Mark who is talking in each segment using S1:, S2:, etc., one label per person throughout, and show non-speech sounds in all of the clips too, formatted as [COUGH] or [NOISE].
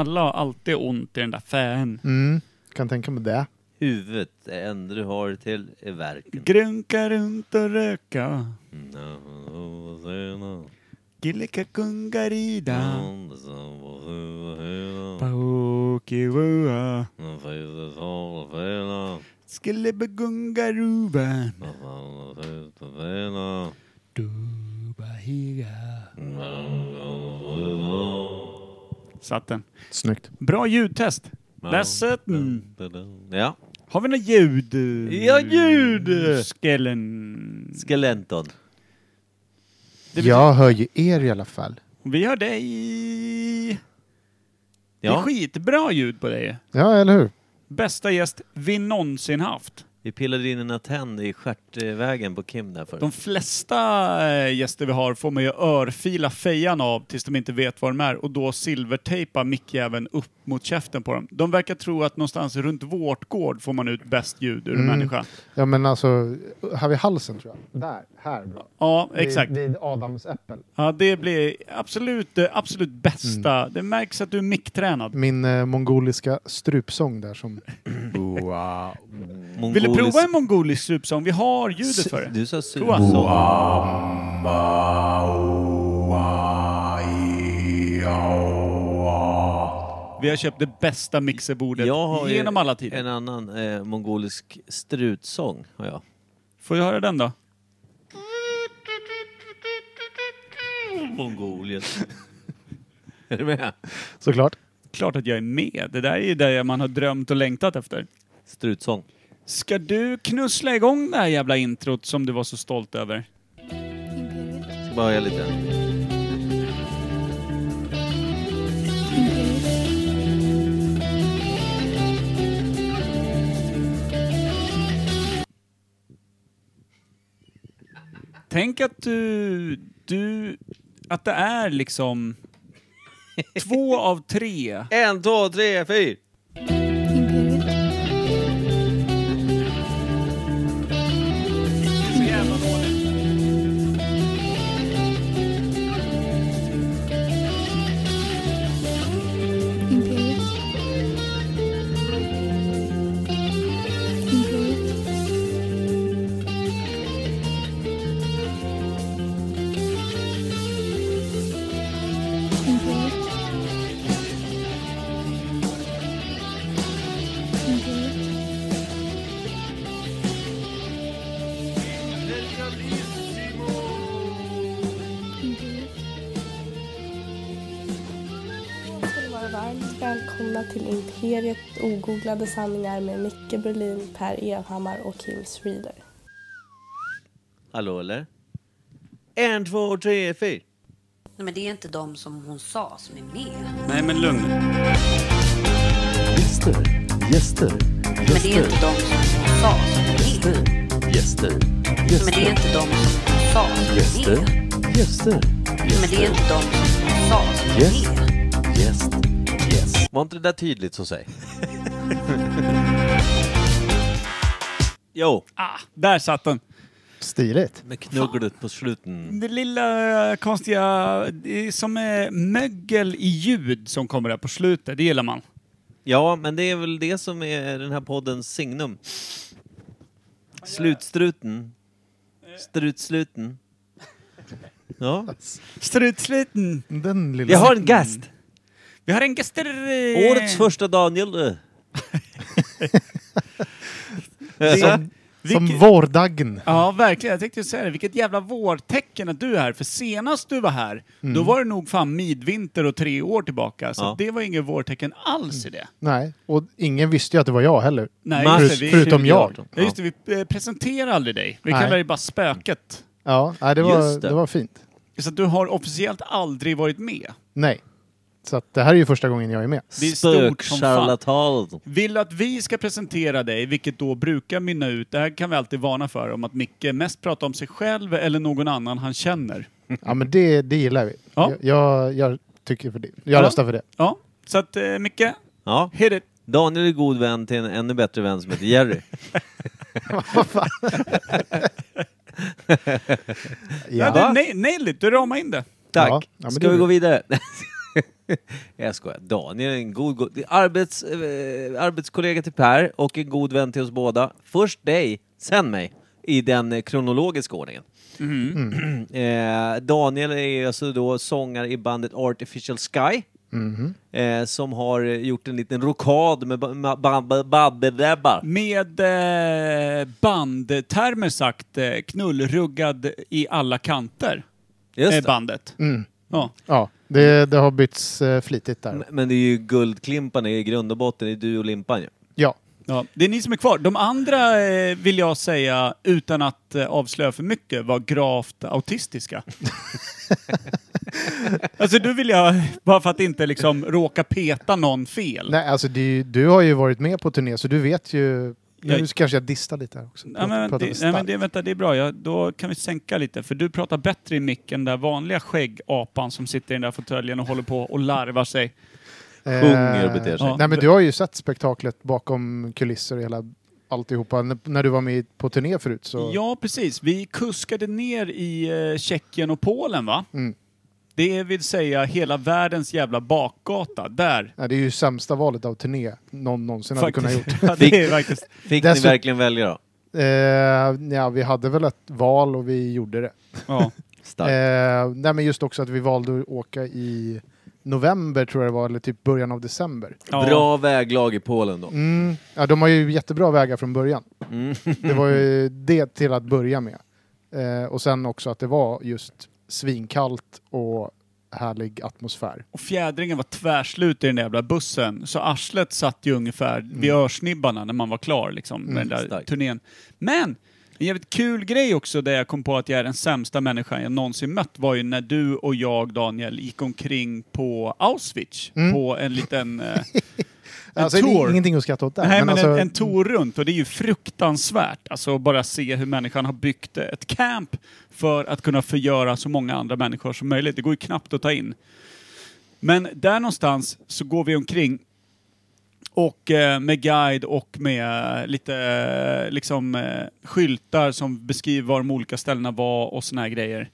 S1: Alla har alltid ont i den där fän.
S2: Mm, kan tänka mig det.
S3: Huvudet är enda du har till i verken.
S1: Grunka runt och röka. Gillika
S3: Mm.
S1: kungarida. Paokiwua. Skulle begunga ruben. Dubahiga. Satt den.
S2: Snyggt.
S1: Bra ljudtest.
S3: Mm.
S1: Där satt den.
S3: Ja.
S1: Har vi något ljud?
S3: Ja, ljud!
S1: Skellen.
S3: Skelenton.
S1: Det betyder-
S2: Jag hör ju er i alla fall.
S1: Vi har dig. Det är
S3: Ja,
S1: skitbra ljud på dig.
S2: Ja, eller hur?
S1: Bästa gäst vi någonsin haft.
S3: vi pillade in en antenn i stjärtvägen på Kim där förut.
S1: De flesta eh, gäster vi har får man ju örfila fejan av tills de inte vet var de är och då silvertejpa mickjäveln upp mot käften på dem. De verkar tro att någonstans runt Vårtgård får man ut bäst ljud ur en
S2: Mm.
S1: människa.
S2: Ja, men alltså, här vid halsen tror jag. Där, här. Bra.
S1: Ja, exakt.
S2: Vid, vid Adams äppel.
S1: Ja, det blir absolut det absolut bästa. Det märks att du är micktränad.
S2: Min eh, mongoliska strupsång där som... Wow.
S1: Vill du
S3: Mongolisk-
S1: prova en mongolisk strupsång? Vi har ljudet för det.
S3: Du sa
S1: Prova.
S3: surpsång.
S1: Vi har köpt det bästa mixerbordet
S3: Jag har ju
S1: genom alla tider.
S3: en annan eh, mongolisk strutsång har jag.
S1: Får jag höra den då?
S3: Mongolien. [LAUGHS] är du med?
S2: [LAUGHS] Såklart.
S1: Klart att jag är med. Det där är ju det man har drömt och längtat efter.
S3: Strutsång.
S1: Ska du knussla igång det här jävla introt som du var så stolt över?
S3: Jag Ska bara höja lite.
S1: Tänk att du... du att det är liksom... Två av tre.
S3: En, två, tre, fyra!
S1: Så jävla dåligt.
S4: ska ni vara varmt välkomna till Imperiet ogooglade sanningar med Micke Berlin, Per Evhammar och Kim Reader.
S3: Hallå eller? En, två, tre, fyra!
S5: Nej, men det är inte de som hon sa som är med.
S1: Nej men lugn.
S6: Gäster, gäster,
S5: Men det är
S6: gäster,
S5: inte de som hon sa som är med.
S6: gäster,
S5: Men det är
S6: gäster,
S5: inte de som hon sa som är
S6: gäster,
S5: med.
S6: gäster,
S5: Men det är inte de som hon sa som är med.
S6: gäst, gäst.
S3: Var inte det där tydligt så säg? [LAUGHS] jo,
S1: Ah, där satt den.
S2: Stiligt.
S3: med knugglet på sluten.
S1: Det lilla eh, konstiga, det är som eh, mögel i ljud som kommer där på slutet, det gillar man.
S3: Ja, men det är väl det som är den här poddens signum. Slutstruten. Strutsluten. Ja.
S1: Strutsliten!
S2: Den lilla...
S3: Jag
S1: Mm.
S3: har en gäst!
S1: Vi har en gäster... Mm.
S3: Årets
S1: [LAUGHS]
S3: första Daniel.
S2: Som, som
S1: Vilket-
S2: vårdagn.
S1: Ja, verkligen. Jag tänkte ju säga det. Vilket jävla vårtecken att du är här. För senast du var här, då var det nog fan midvinter och tre år tillbaka. Så
S3: Ja.
S1: det var inget vårtecken alls i det.
S2: Nej, och ingen visste ju att det var jag heller.
S1: Nej,
S3: Mars
S1: just det, vi-
S2: förutom jag.
S3: 2018.
S1: Ja, just det, vi eh, presenterar aldrig dig. Vi
S2: Nej.
S1: kallar dig bara spöket.
S2: Ja, nej, det, var,
S3: Just
S2: det.
S3: det.
S2: var fint.
S1: Så att du har officiellt aldrig varit med.
S2: Nej. Så att det här är ju första gången jag är med.
S1: Det är stort som fan.
S3: Spökcharlatan.
S1: Vill du att vi ska presentera dig, vilket då brukar mynna ut, det här kan vi alltid varna för, om att Micke mest pratar om sig själv eller någon annan han känner.
S2: Ja, men det, det gillar vi.
S1: Ja.
S2: Jag, jag, jag tycker för det.
S1: Ja.
S2: Jag röstar för det.
S1: Ja, så att eh, Micke,
S3: Ja,
S1: hit it!
S3: Daniel är god vän till en ännu bättre vän som heter Jerry.
S1: Ja.
S2: Ja.
S1: du, nej, nej, du ramar in det.
S3: Tack.
S2: Ja, ja, men
S3: Ska
S2: det-
S3: vi gå vidare? [LAUGHS] Jag skojar. Daniel är en god, god arbets, eh, arbetskollega till Per och en god vän till oss båda. Först dig, sen mig. I den eh, kronologiska ordningen.
S2: Mm.
S3: [CLEARS THROAT] Eh, Daniel är ju alltså då sångare i bandet Artificial Sky.
S2: Mm-hmm.
S3: Eh, som har eh, gjort en liten rokad med ba- ma- ba- ba- Babbe-Debba.
S1: Med eh, bandtermer sagt, eh, knullruggad i alla kanter
S3: Just
S1: är
S3: det.
S1: bandet.
S2: Mm.
S1: Ja.
S2: Ja, det, det har bytts eh, flitigt
S3: M-
S2: där.
S3: Men det är ju Guldklimpan i grund och botten, det är du och Limpan ju.
S2: Ja,
S1: Ja, det är ni som är kvar. De andra eh, vill jag säga, utan att eh, avslöja för mycket, var gravt
S2: [LAUGHS]
S1: autistiska. alltså du vill jag, bara för att inte liksom råka peta någon fel.
S2: nej alltså det är ju, du har ju varit med på turné så du vet ju. Nu
S1: Jag-
S2: kanske jag distar lite här också.
S1: Nej men,
S2: Pratar
S1: det,
S2: för
S1: nej, men
S2: starkt.
S1: det, vänta, det är bra. Jag, då kan vi sänka lite, för du pratar bättre i mick än den där vanliga skäggapan som sitter i den där fåtöljen och håller på och larvar sig.
S3: sjunger och beter sig.
S2: Eh, Nej men du har ju sett spektaklet bakom kulisser och hela alltihopa. N- när du var med på turné förut så.
S1: Ja, precis. Vi kuskade ner i eh, Tjeckien och Polen, va?
S2: Mm.
S1: Det vill säga hela världens jävla bakgata. Där.
S2: Nej, det är ju sämsta valet av turné någon någonsin hade kunnat
S1: [LAUGHS]
S2: gjort.
S1: ja, det är faktiskt.
S3: Fick
S2: Dessut-
S3: ni verkligen välja då?
S2: Eh, ja, vi hade väl ett val och vi gjorde det.
S1: Ja.
S3: Starkt.
S2: Eh, nej, men just också att vi valde att åka i november tror jag det var, eller typ början av december.
S1: Ja.
S3: Bra väglag i Polen då.
S2: Mm. Ja, de har ju jättebra vägar från början.
S3: Mm.
S2: Det var ju det till att börja med. Eh, och sen också att det var just svinkallt och härlig atmosfär.
S1: Och fjädringen var tvärslut i den där jävla bussen. Så arslet satt ju ungefär vid
S2: Mm.
S1: örsnibbarna när man var klar liksom, med den där
S3: Starkt.
S1: turnén. Men! En jävligt kul grej också där jag kom på att jag är den sämsta människan jag någonsin mött var ju när du och jag, Daniel, gick omkring på Auschwitz
S2: Mm.
S1: på en liten... Eh, en
S2: Alltså, det är
S1: tour.
S2: ingenting att skratta åt där.
S1: Nej, men, en,
S2: alltså,
S1: en tour runt och det är ju fruktansvärt. Alltså att bara se hur människan har byggt ett camp för att kunna förgöra så många andra människor som möjligt. Det går ju knappt att ta in. Men där någonstans så går vi omkring och eh, med guide och med lite eh, liksom eh, skyltar som beskriver var de olika ställena var och såna här grejer.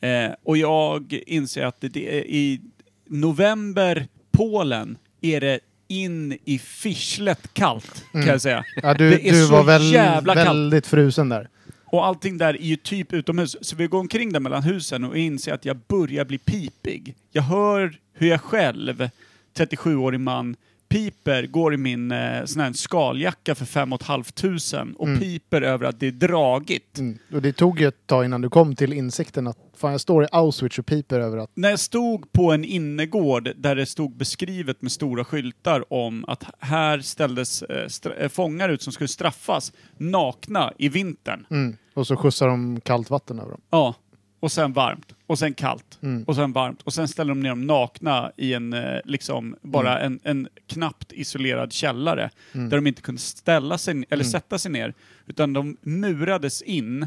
S1: Eh, och jag inser att det, det är i november, Polen, är det in i fischlet kallt, kan jag säga.
S2: ja,
S1: [LAUGHS]
S2: du,
S1: det är
S2: du
S1: så
S2: var väl,
S1: jävla kallt.
S2: väldigt frusen där.
S1: Och allting där är ju typ utomhus. Så vi går omkring där mellan husen och inser att jag börjar bli pipig. Jag hör hur jag själv, 37-årig man, piper, går i min eh, sån här skaljacka för 5 500 och piper över att det är dragigt.
S2: Mm. Och det tog ju ett tag innan du kom till insikten att fan, jag står i Auschwitz och piper över att
S1: När jag stod på en innergård där det stod beskrivet med stora skyltar om att här ställdes eh, stra- eh, fångar ut som skulle straffas nakna i vintern.
S2: Mm. Och så skjutsar de kallt vatten över dem.
S1: Ja. Och sen varmt. Och sen kallt. Och sen varmt. Och sen ställer de ner dem nakna i en, eh, liksom, bara en, en knappt isolerad källare. Där de inte kunde ställa sig, eller sätta sig ner. Utan de murades in.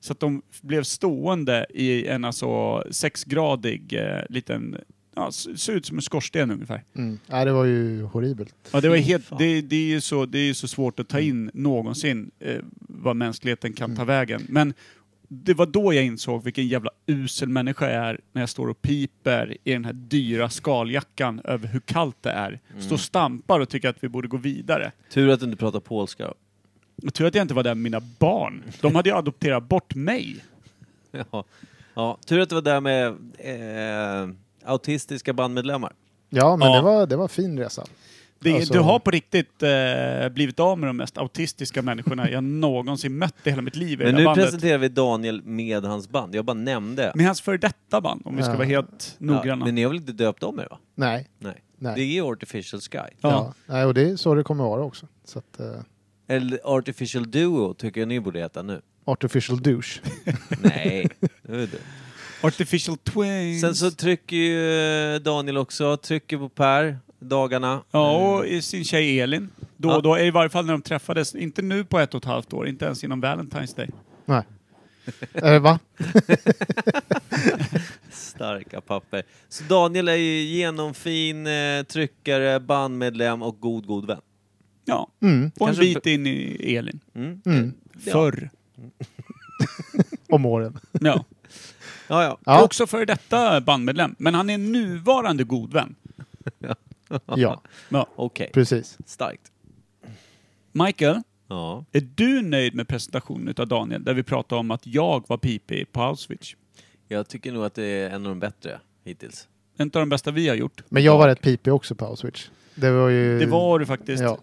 S1: Så att de blev stående i en alltså sexgradig eh, liten, ja, s- ser ut som en skorsten ungefär.
S2: Mm. Nej, det var ju horribelt.
S1: Ja, det, var helt, det, det, är ju så, det är ju så svårt att ta
S3: Mm.
S1: in någonsin eh, vad mänskligheten kan ta vägen. Men det var då jag insåg vilken jävla usel människa jag är när jag står och piper i den här dyra skaljackan över hur kallt det är.
S3: Mm.
S1: Står och stampar och tycker att vi borde gå vidare.
S3: Tur att du inte pratar polska. [LAUGHS]
S1: Jag tror att jag inte var där med mina barn. De hade ju adopterat bort mig.
S3: Ja. ja, tur att det var där med eh, autistiska bandmedlemmar.
S2: Ja, men
S1: Ja.
S2: Det, var, det var fin resa.
S1: Det,
S2: Alltså-
S1: Du har på riktigt eh, blivit av med de mest autistiska människorna jag någonsin mött i hela mitt liv i
S3: Men
S1: det här
S3: nu
S1: bandet.
S3: presenterar vi Daniel med hans band. Jag bara nämnde.
S1: Med hans före detta band, om vi ska
S2: Ja.
S1: vara helt
S3: Ja,
S1: noggranna.
S3: men ni har väl inte döpt om er va?
S2: Nej.
S3: Nej.
S2: Nej.
S3: Det är Artificial Sky.
S2: Ja.
S1: Ja.
S2: Nej, och det är så det kommer vara också. Så att, eh,
S3: Eller Artificial Duo tycker jag ni borde heta nu.
S2: artificial douche.
S1: [LAUGHS]
S3: Nej. det är det.
S1: Artificial twins.
S3: Sen så trycker ju eh, Daniel också, trycker på Per dagarna.
S1: Ja, och i sin tjej Elin. Då
S3: Ja.
S1: och då, i varje fall när de träffades. Inte nu på ett och ett halvt år, inte ens innan Valentine's Day.
S2: Nej. Eh, va?
S3: Starka papper. Så Daniel är ju genomfin eh, tryckare, bandmedlem och god, god vän.
S1: Ja,
S2: Mm,
S1: och en
S3: Kanske-
S1: bit in i Elin.
S3: Mm.
S2: mm,
S3: Ja.
S1: Förr.
S2: om åren.
S1: Ja.
S3: Ja, ja.
S1: Är
S2: Ja,
S1: Också före detta bandmedlem, men han är nuvarande god vän.
S2: ja
S1: Ja.
S3: Okej.
S2: precis.
S3: Starkt.
S1: Michael,
S3: Ja.
S1: är du nöjd med presentationen av Daniel, där vi pratade om att jag var pipig på Auschwitz?
S3: Jag tycker nog att det är en av de bättre hittills.
S1: En av de bästa vi har gjort.
S2: Men jag var rätt pipig också på Auschwitz. Det var ju...
S1: Det var du faktiskt.
S2: Ja.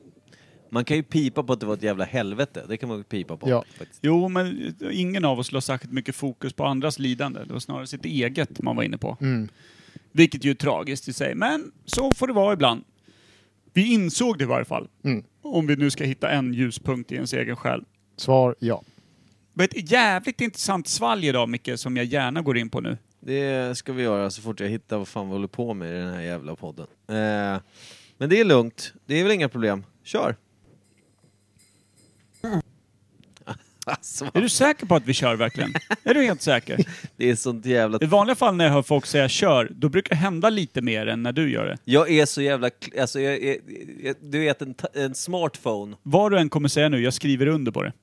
S3: Man kan ju pipa på att det var ett jävla helvete. Det kan man ju pipa på.
S2: Ja.
S3: faktiskt.
S1: Jo, men ingen av oss la särskilt mycket fokus på andras lidande. Det var snarare sitt eget man var inne på.
S2: Mm.
S1: Vilket ju är tragiskt i sig, men så får det vara ibland. Vi insåg det i varje fall.
S2: Mm.
S1: Om vi nu ska hitta en ljuspunkt i ens egen själ.
S2: Svar ja.
S1: Men ett jävligt intressant svalg idag, Micke, som jag gärna går in på nu.
S3: Det ska vi göra så fort jag hittar vad fan vi håller på med i den här jävla podden. Eh, men det är lugnt. Det är väl inga problem. [LAUGHS] Kör! Alltså,
S1: Är du säker på att vi kör
S2: [LAUGHS]
S1: verkligen? är du helt säker?
S3: det är sånt jävla...
S1: I vanliga fall när jag hör folk säga kör, då brukar det hända lite mer än när du gör det.
S3: Jag är så jävla... kl- Alltså, jag, är- jag, du vet, en, ta- en smartphone.
S1: Vad du än kommer säga nu, jag skriver under på det.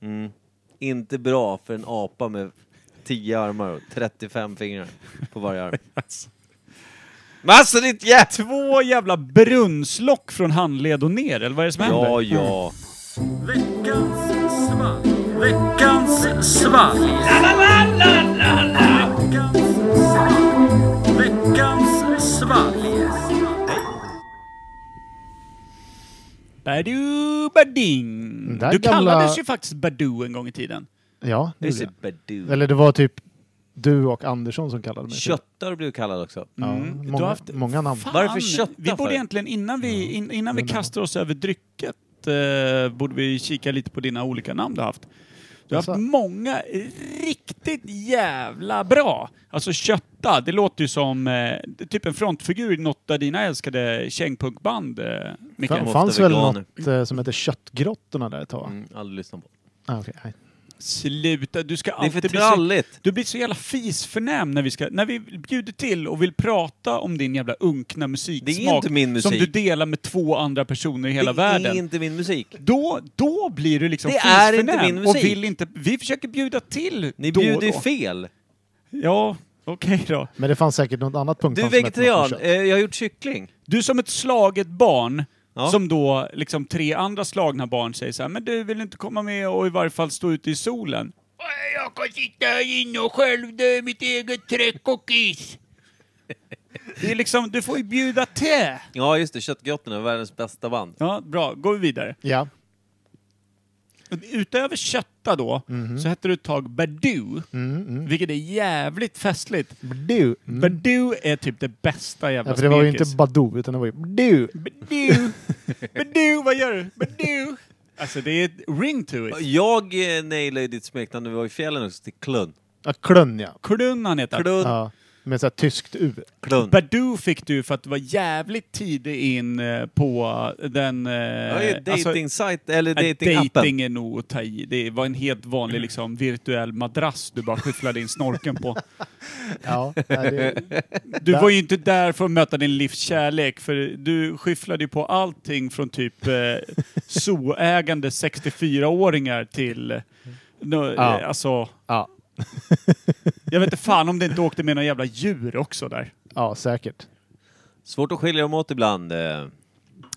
S3: Inte bra för en apa med 10 armar och 35 fingrar på
S1: [LAUGHS]
S3: varje arm. Men alltså ditt jävla...
S1: Två jävla brunnslock från handled och ner, eller vad är det som händer?
S3: Ja, ja.
S1: Badu Bading.
S2: där
S1: Du
S2: gamla-
S1: kallades ju faktiskt Badu en gång i tiden.
S2: Ja, det
S3: Det är så
S2: gjorde jag.
S3: badu.
S2: Eller det var typ du och Andersson som kallade mig.
S3: Köttar blev kallad också.
S2: Ja,
S1: Mm.
S2: många,
S1: Du har haft-
S2: många namn.
S1: Fan,
S3: Varför kötta
S1: Vi
S3: för?
S1: borde egentligen, innan vi, in, innan vi kastar oss över drycket, eh, borde vi kika lite på dina olika namn du har haft. Du har
S2: Jaså?
S1: haft
S3: Alltså-
S1: många riktigt jävla bra. Alltså kötta, det låter ju som eh, typ en frontfigur i något av dina älskade kängpunkband, eh, Micke.
S2: Fan,
S3: ofta
S2: fanns väl
S3: veganer.
S2: något eh, som hette Köttgrottorna där ett tag?
S3: Mm, aldrig lyssnat på.
S2: Ah, okej, nej.
S1: Sluta, du ska
S3: Det är för
S1: alltid bli så
S3: tralligt.
S1: Du blir så jävla fisförnäm när vi, ska, när vi bjuder till och vill prata om din jävla unkna musiksmak.
S3: Det är inte min musik.
S1: Som du delar med två andra personer i hela
S3: det
S1: världen.
S3: är inte min musik.
S1: Då, då blir du liksom
S3: Det är inte
S1: fisförnäm
S3: min
S1: och
S3: musik.
S1: vill inte... Vi försöker bjuda till
S3: Ni
S1: då och
S3: bjuder ju
S1: då.
S3: fel.
S1: Ja, okej då.
S2: Men det fanns säkert något annat punkt.
S3: Du är vegetarian, Eh, jag har gjort kyckling.
S1: Du är som ett slaget barn.
S3: Ja.
S1: Som då liksom tre andra slagna barn säger så här, men du vill inte komma med och i varje fall stå ute i solen. Jag kan sitta här inne och själv dö mitt eget träck och is. [LAUGHS] Det är liksom, du får ju bjuda till.
S3: Ja just det, Köttgrottorna, världens bästa band.
S1: Ja, bra, går vi vidare.
S2: Ja.
S1: Utöver kötta då,
S3: Mhm.
S1: så hette du ett tag Badu,
S3: Mm,
S1: vilket är jävligt festligt.
S2: Du. Mm.
S1: Badu är typ det bästa jävla
S2: Ja, för det var ju inte
S1: smekis.
S2: Badoo, utan det var ju du.
S1: Badoo! Badoo, vad gör du? Badoo! [LAUGHS] Alltså det är ett ring to it.
S3: Jag eh, nailade ju ditt smeknamn när vi var i fjällen också, till Klunn.
S2: Ja, klunn ja.
S1: Klunn han heter.
S3: Klunn,
S2: ja. Med såhär tyskt U.
S3: Klunn.
S1: Badoo fick du för att du var jävligt tidig in eh, på den... eh,
S3: Ja, ju dating site eller
S1: nej,
S3: datingappen.
S1: dating är nog att ta i. Det var en helt vanlig liksom, virtuell madrass du bara skyfflade in snorken [LAUGHS] på.
S2: Ja, nej, det,
S1: Du var ju inte där för att möta din livs kärlek, för du skyfflade ju på allting från typ eh, zooägande 64-åringar till... Eh, nå-
S2: Ja.
S1: eh, alltså,
S2: ja.
S1: jag vet inte fan om det inte åkte med några jävla djur också där.
S2: ja, säkert.
S3: Svårt att skilja dem åt ibland. eh.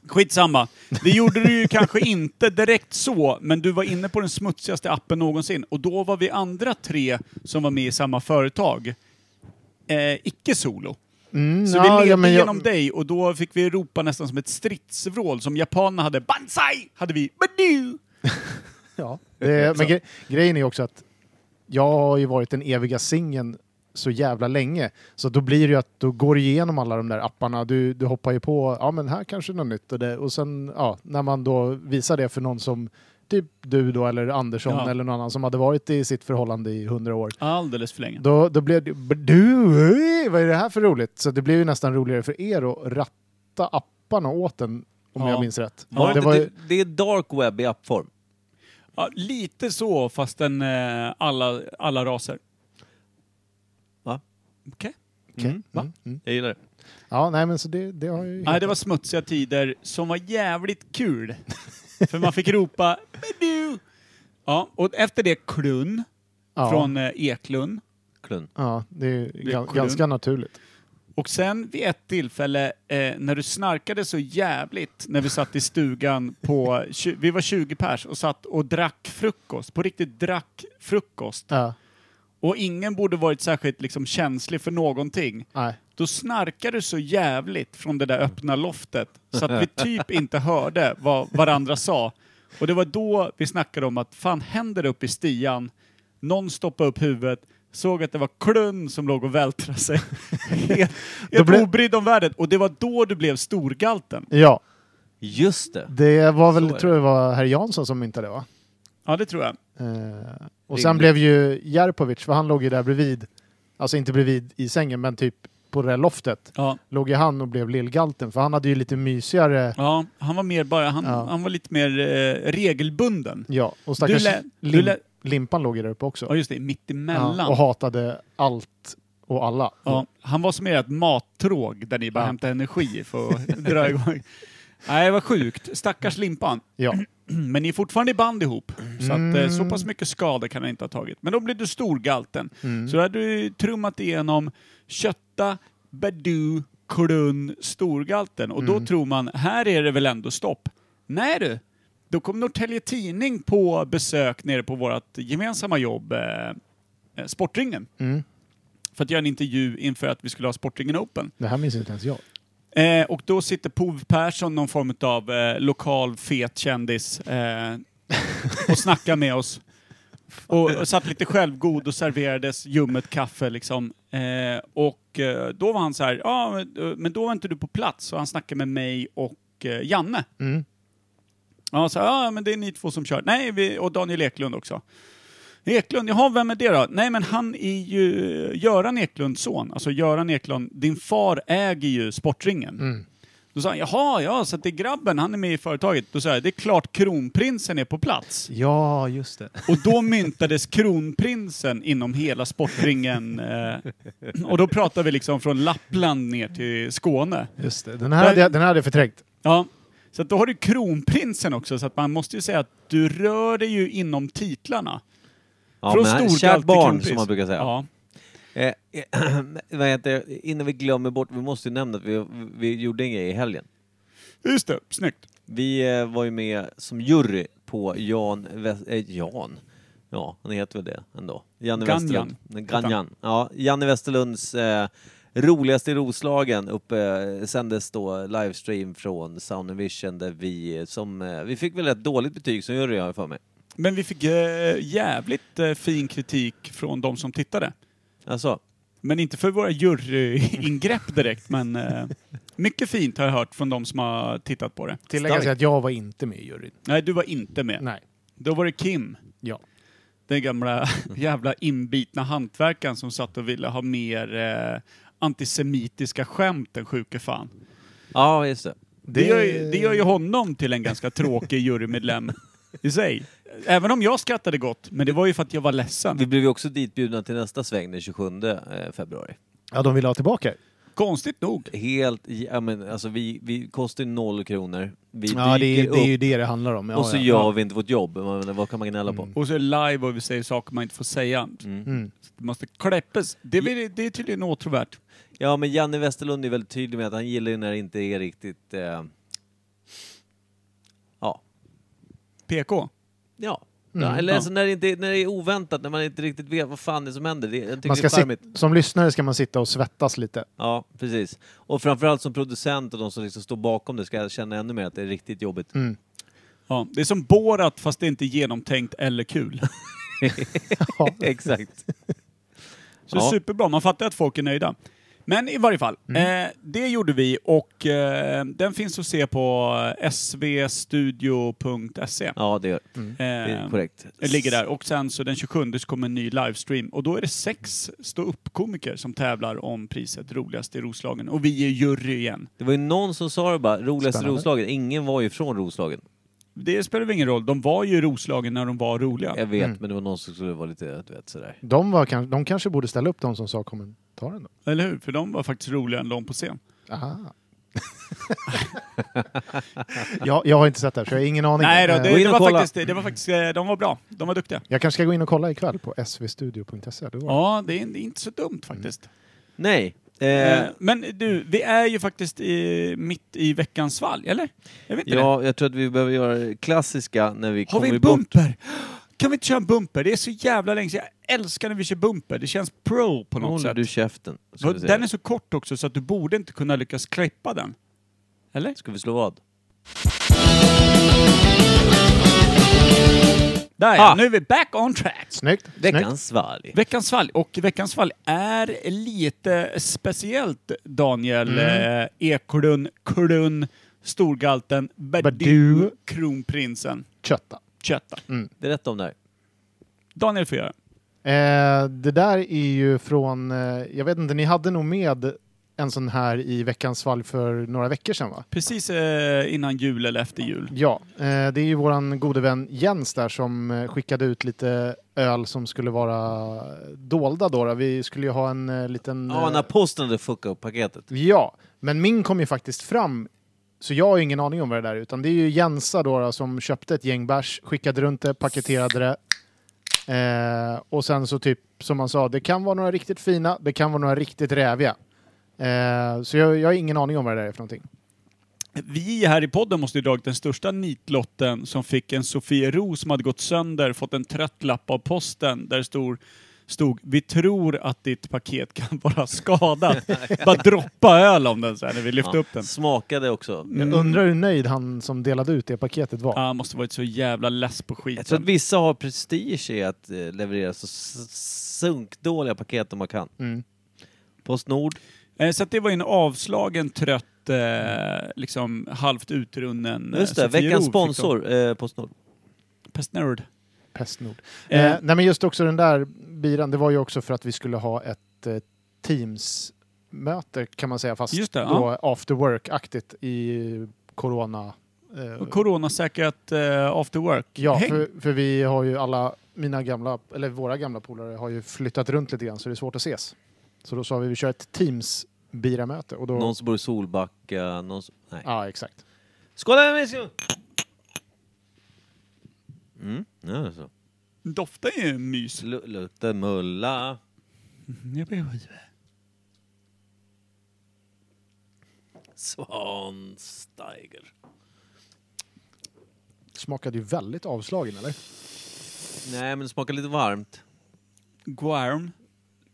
S1: Skitsamma. Det gjorde du ju kanske inte direkt så, men du var inne på den smutsigaste appen någonsin. Och då var vi andra tre som var med i samma företag. Eh, icke solo.
S2: Mm,
S1: Så vi levde
S2: men jag-
S1: genom dig och då fick vi ropa nästan som ett stridsvrål som japanerna hade. Banzai! Hade vi. Badu!
S2: Ja, det, men gre grejen är ju också att jag har ju varit den eviga singeln så jävla länge. Så då blir det ju att då går du igenom alla de där apparna. Du, du hoppar ju på, ja men här kanske något nytt. Och, det, och sen ja, när man då visar det för någon som typ du då eller Andersson
S1: Ja.
S2: eller någon annan som hade varit i sitt förhållande i hundra år.
S1: Alldeles för länge.
S2: Då, då blev det, "Men du, hej, vad är det här för roligt? Så det blev ju nästan roligare för er att ratta apparna åt en, om
S1: Ja.
S2: jag minns rätt.
S3: Var det,
S2: det
S3: inte,
S2: var ju,
S3: det, det är dark web i appform.
S1: Ja, lite så, fast en, eh, alla, alla raser.
S3: Va?
S1: Okej.
S2: Okej.
S3: va?
S2: Mm, mm.
S3: Jag gillar det.
S2: Ja, nej men så det, det har ju...
S1: Nej, det var smutsiga tider som var jävligt kul. För man fick ropa Badu! Ja, och efter det Klunn
S2: Ja.
S1: från eh, Eklund.
S3: Klun.
S2: Ja, det är, gan-
S1: kolumn.
S2: ganska naturligt.
S1: Och sen vid ett tillfälle eh, när du snarkade så jävligt när vi satt i stugan på, tju- vi var 20 pers och satt och drack frukost, på riktigt drack frukost.
S2: Ja,
S1: Och ingen borde varit särskilt liksom, känslig för någonting.
S2: nej.
S1: Då snarkade du så jävligt från det där öppna loftet så att vi typ inte hörde vad varandra sa. Och det var då vi snackade om att fan händer det uppe i stian? Någon stoppade upp huvudet, såg att det var klunn som låg och vältrade sig. [LAUGHS] helt helt
S2: blev-
S1: obrydd om världen. Och det var då du blev storgalten.
S2: Ja,
S3: Just det.
S2: det var
S3: Så
S2: väl,
S3: är det.
S2: tror jag var herr Jansson som myntade det va?
S1: Ja, det tror jag.
S2: Eh, och
S3: Ringde.
S2: sen blev ju Jerpovic, för han låg ju där bredvid, alltså inte bredvid i sängen, men typ på det där loftet,
S1: Ja,
S2: låg ju han och blev lillgalten, för han hade ju lite mysigare,
S1: ja han var mer bara, han,
S2: Ja.
S1: han var lite mer eh, regelbunden.
S2: ja, och stackars
S1: Du lä- du
S2: lim,
S1: lä-
S2: Limpan låg ju där uppe också.
S1: Ja, just det, mittemellan.
S2: Ja, och hatade allt och alla.
S1: Ja, han var som ert mattråg där ni bara
S2: Ja.
S1: hämtade energi för att dra igång. Nej, vad sjukt. Stackars Limpan.
S2: Ja.
S1: [CLEARS THROAT] Men ni är fortfarande i band ihop. Så, att, eh, så pass mycket skada kan han inte ha tagit. Men då blev du storgalten. Så då hade du trummat igenom Kötta, Badu, Klunn, Storgalten. Och då tror man, här är det väl ändå stopp. Nej du, då kom Norrtälje Tidning på besök nere på vårt gemensamma jobb, eh, eh, Sportringen för att göra en intervju inför att vi skulle ha Sportringen Open.
S2: Det här minns inte ens jag.
S1: Eh, och då sitter Pov Persson, någon form av eh, lokal fet kändis, eh, och snackar med oss. Och, och satt lite självgod och serverades ljummet kaffe liksom. Eh, och eh, då var han så här, ja men, eh, men då var inte du på plats. Och han snackade med mig och eh, Janne.
S2: Mm.
S1: Ja, så här, ja men det är ni två som kör. Nej, vi, och Daniel Eklund också. Eklund, jaha, vem är det då? Nej, men han är ju Göran Eklunds son. Alltså Göran Eklund, din far äger ju Sportringen. Då sa han, jaha, ja, så att det är grabben, han är med i företaget. Då sa jag, det är klart kronprinsen är på plats.
S2: Ja, just det.
S1: Och då myntades kronprinsen inom hela sportringen. Eh, och då pratar vi liksom från Lappland ner till Skåne.
S2: Just det. Den, här hade, jag- den här hade jag förträngt.
S1: Ja, så att då har du kronprinsen också, så att man måste ju säga att du rör dig ju inom titlarna.
S3: Ja,
S1: Från
S3: men här-
S1: storgalt
S3: kärt
S1: till
S3: barn
S1: kronprins.
S3: som man brukar säga.
S1: Ja.
S3: Eh, eh, [CLEARS THROAT] vad heter, det? innan vi glömmer bort, vi måste ju nämna att vi, vi gjorde en grej i helgen.
S1: Just det, snyggt.
S3: Vi eh, var ju med som jury på Jan, Wes- eh, Jan, ja han heter väl det ändå. Janne
S1: Ganjan.
S3: Westerlund. Nej, Ganjan. Ja, Janne Westerlunds eh, roligaste i Roslagen uppe, eh, sändes då livestream från Sound and Vision där vi, eh, som, eh, vi fick väl ett dåligt betyg som jury har jag för mig.
S1: Men vi fick eh, jävligt eh, fin kritik från de som tittade.
S3: Alltså,
S1: Men inte för våra juryingrepp direkt, men eh, mycket fint har jag hört från de som har tittat på det.
S2: Tillägga sig att jag var inte med i juryn.
S1: Nej, du var inte med.
S2: Nej.
S1: Då var det Kim,
S2: Ja.
S1: den gamla [LAUGHS] jävla inbitna hantverkaren som satt och ville ha mer eh, antisemitiska skämt, den sjuke fan.
S3: ja just det.
S1: Det... gör, ju- det gör ju honom till en ganska tråkig jurymedlem i sig. Även om jag skrattade gott, men det var ju för att jag var ledsen.
S3: Vi blev ju också ditbjudna till nästa sväng den 27 eh, februari.
S2: Ja, de ville ha tillbaka.
S1: Konstigt nog.
S3: Helt, ja men alltså vi, vi kostar ju noll kronor. Vi
S2: Ja, det är,
S3: dyker
S2: det är ju
S3: upp
S2: det det handlar om. Ja,
S3: och så
S2: ja.
S3: gör vi inte vårt jobb. Jag menar, Vad kan man gnälla på?
S1: Och så är det live och vi säger saker man inte får säga.
S2: Mm.
S1: Så Det måste kläppes. Det, vill, det är tydligen åtråvärt.
S3: Ja men Janne Westerlund är väldigt tydlig med att han gillar ju när det inte är riktigt... Eh, ja.
S1: PK.
S3: Ja.
S2: Mm,
S3: ja. Eller
S1: ja.
S3: alltså när, det inte, är- när det är oväntat, när man inte riktigt vet vad fan det är som händer. Det, jag tycker
S2: Man ska
S3: det är charmigt.
S2: sit- som lyssnare ska man sitta och svettas lite. [LAUGHS]
S3: Ja, precis. Och framförallt som producent och de som liksom står bakom det ska känna ännu mer att det är riktigt jobbigt.
S2: Mm.
S1: Ja, det är som Borat fast det är inte genomtänkt eller kul.
S2: Ja.
S3: [LAUGHS] Exakt.
S1: Så
S3: Ja.
S1: superbra, man fattar att folk är nöjda. Men i varje fall,
S3: Mm.
S1: eh, det gjorde vi och eh, den finns att se på svstudio.se.
S3: Ja, det gör
S2: Mm.
S3: det.
S1: Eh,
S3: är korrekt.
S1: Det ligger där. Och sen så den 27 så kommer en ny livestream. Och då är det sex ståuppkomiker som tävlar om priset Roligast i Roslagen. Och vi är jury igen.
S3: Det var ju någon som sa det bara, roligaste
S2: Spännande.
S3: Roslagen. Ingen var ju från Roslagen.
S1: Det spelar väl ingen roll, de var ju i Roslagen när de var roliga.
S3: Jag
S2: Mm.
S3: vet, men det var någon som skulle vara lite, du vet sådär.
S2: De, var, kan- de kanske borde ställa upp de som sa kommentaren. Då.
S1: Eller hur? För de var faktiskt roligare än de på scen.
S2: Aha. [LAUGHS] Jag, jag har inte sett det här, så jag har ingen aning.
S1: Nej då,
S2: Eh,
S1: det,
S3: Gå in
S1: det,
S3: och
S1: var
S3: kolla.
S1: faktiskt, det var faktiskt, eh, de var bra. De var duktiga.
S2: Jag kanske ska gå in och kolla ikväll på svstudio.se. Det var-
S1: Ja, det är, det är inte så dumt faktiskt.
S3: Nej.
S1: Eh,
S3: Eh,
S1: Men du, vi är ju faktiskt i, mitt i veckans svalg, eller? Jag vet inte det.
S3: ja, jag tror att vi behöver göra det klassiska när vi
S1: Har
S3: kommer
S1: vi en
S3: bort.
S1: bumper? Kan vi inte köra en bumper? Det är så jävla länge sedan. Jag älskar när vi kör bumper. Det känns pro på
S3: Nu
S1: något
S3: håller
S1: sätt.
S3: du käften. Ska
S1: Vad-
S3: vi,
S1: Den
S3: säga.
S1: är så kort också så att du borde inte kunna lyckas klippa den. Eller?
S3: ska vi slå vad?
S1: Där ja,
S3: Ah.
S1: nu är vi back on track!
S2: Snyggt. snyggt.
S3: Veckans svalg.
S1: Veckans fall, och veckans fall är lite speciellt Daniel
S3: Mm.
S1: eh, Eklund, Klun, Storgalten, Berdu,
S2: Berdu.
S1: Kronprinsen,
S2: Kötta.
S1: Kötta.
S3: Berätta om det här.
S1: Daniel får göra.
S2: Eh, det där är ju från, eh, jag vet inte, ni hade nog med en sån här i veckans svalg för några veckor sedan va?
S1: Precis eh, innan jul eller efter jul.
S2: Ja, eh, det är ju våran gode vän Jens där som eh, skickade ut lite öl som skulle vara dolda då. då. Vi skulle ju ha en eh, liten...
S1: Mm.
S3: Ja,
S2: eh,
S3: när posten hade fuckat upp paketet.
S2: Ja, men min kom ju faktiskt fram. Så jag har ju ingen aning om vad det där är. Utan det är ju Jensa då, då som köpte ett gäng bärs, skickade runt det, paketerade det. Eh, och sen så typ, som man sa, det kan vara några riktigt fina, det kan vara några riktigt räviga. Eh, så jag, jag har ingen aning om vad det där är för någonting.
S1: Vi här i podden måste ju dragit den största nitlotten som fick en Sofiero som hade gått sönder, fått en trött lapp av posten där det stod, stod Vi tror att ditt paket kan [LAUGHS] vara
S3: [LAUGHS]
S1: skadat. Bara droppa öl om den så här när vi lyfte upp den.
S3: Smakade också.
S2: Jag undrar hur nöjd han som delade ut det paketet var.
S1: Han måste varit så jävla less på
S3: Jag tror att
S1: skiten.
S3: vissa har prestige i att eh, leverera så s- sunkdåliga paket de man kan.
S1: Mm.
S3: Postnord.
S1: Eh, Så att det var en avslagen, trött, eh, liksom halvt utrunnen eh,
S3: Just det,
S1: Sofiero
S3: veckans
S1: fick de.
S3: sponsor, eh, Postnord.
S1: Pestnord.
S2: Pestnord.
S1: Eh.
S2: Eh, nej men just också den där biran, det var ju också för att vi skulle ha ett eh, Teams-möte kan man säga, fast
S1: Just det,
S2: då after work-aktigt i corona. Eh,
S1: Coronasäkrat eh, after work.
S2: ja,
S1: Häng.
S2: för, för vi har ju alla, mina gamla, eller våra gamla polare har ju flyttat runt lite grann så det är svårt att ses. Så då sa vi vi kör ett Teams-biramöte och då...
S3: Någon som bor i Solbacka, någon som... Nej.
S2: Ja, exakt.
S3: Skål! älskling! Mm, ja, så.
S1: Doftar ju mys.
S3: Lu- Luktar mulla.
S1: Jag blir skivad.
S3: Svansteiger.
S2: Smakade ju väldigt avslagen, eller?
S3: Nej, men det smakar lite varmt.
S1: Guarm.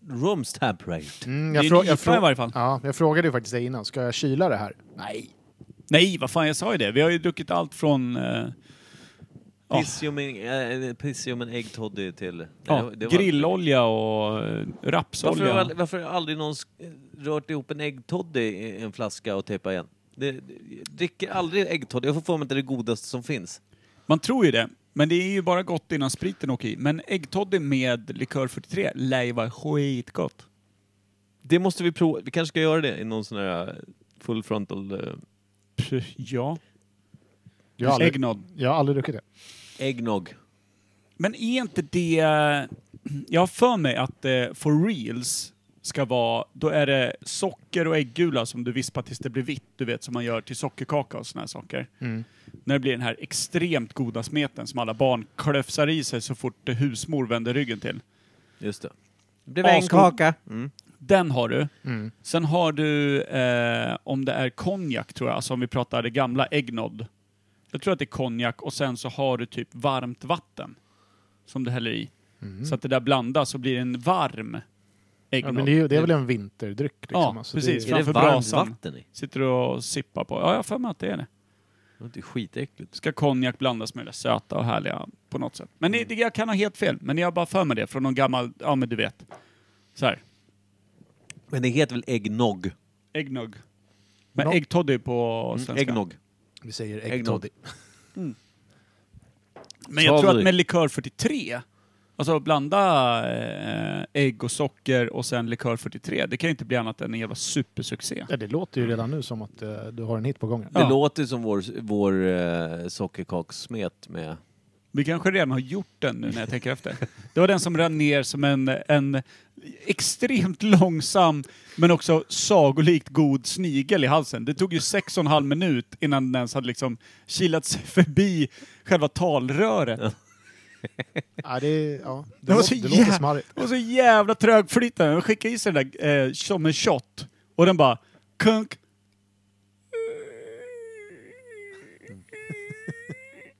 S3: Rumstemperate.
S2: Mm,
S1: Det är en
S2: jag,
S1: IPA i varje fall.
S2: Ja, jag frågade ju faktiskt dig innan, ska jag kyla det här?
S1: Nej. Nej, vad fan, jag sa ju det. Vi har ju druckit allt från... Eh, ja,
S3: Pissium in, äh, pissium and egg toddy till...
S1: ja,
S3: Nej, det- det var-
S1: grillolja och eh,
S3: Varför
S1: rapsolja.
S3: har, varför har aldrig någon sk- rört ihop en äggtoddy i en flaska och tejpat igen? Det, det, jag dricker aldrig äggtoddy. Jag får för mig att det är det godaste som finns.
S1: Man tror ju det. Men det är ju bara gott innan spriten åker i. Men äggtoddy med likör 43 lär ju vara skitgott.
S3: Det måste vi prova. Vi kanske ska göra det i någon sån här eh, full frontal eh,
S1: Pff, Ja.
S2: Jag har aldrig,
S1: Äggnod.
S2: jag har aldrig druckit det.
S3: eggnog.
S1: Men är inte det... Jag har för mig att eh, for reals ska vara... Då är det socker och äggula som du vispar tills det blir vitt. Du vet, som man gör till sockerkaka och såna här saker. När det blir den här extremt goda smeten som alla barn klöfsar i sig så fort eh, husmor vänder ryggen till.
S3: Just det. Det blev
S1: en kaka.
S3: Mm.
S1: Den har du.
S2: Mm.
S1: Sen har du, eh, om det är konjak tror jag, alltså om vi pratar det gamla äggnod. Jag tror att det är konjak och sen så har du typ varmt vatten som du häller i. Så att det där blandas och blir en varm
S2: Mm. Ja,
S1: äggnod.
S2: men det, är, ju- det är väl en vinterdryck? Liksom.
S1: Ja,
S2: alltså,
S1: precis.
S2: Det
S3: Är det
S1: Framför
S3: varmt
S1: brasan.
S3: vatten i?
S1: Sitter du och sippar på. Ja, jag har för mig att det är det.
S3: Det låter ju skitäckligt.
S1: Ska konjak blandas med det där söta och härliga på något sätt. Men
S2: Mm.
S1: det, det, jag kan ha helt fel, men jag har bara för mig det från någon gammal, ja men du vet. Så här,
S3: Men det heter väl äggnog?
S1: äggnugg. Men
S2: Nog.
S1: äggtoddy på
S3: Mm,
S1: svenska.
S3: Äggnog.
S2: är- vi säger
S3: Äggnog.
S2: äggtoddy.
S1: Men jag tror
S3: Svavelrik.
S1: att med likör 43, alltså blanda eh, ägg och socker och sen likör 43, det kan ju inte bli annat än en jävla supersuccé.
S2: Ja, det låter ju redan nu som att eh, du har en hit på gång.
S1: Ja.
S3: Det låter som vår, vår eh, sockerkakssmet med
S1: Vi kanske redan har gjort den nu när jag tänker efter. Det var den som rann ner som en, en extremt långsam men också sagolikt god snigel i halsen. Det tog ju sex och en halv minut innan den ens hade liksom kilat sig förbi själva talröret.
S2: Ja, det, ja, det,
S1: Det var
S2: lå-
S1: så
S2: det låter
S1: jä-
S2: smarrigt.
S1: Det var så jävla trögflytande. De skickade i sig den där eh, som en shot och den bara kunk.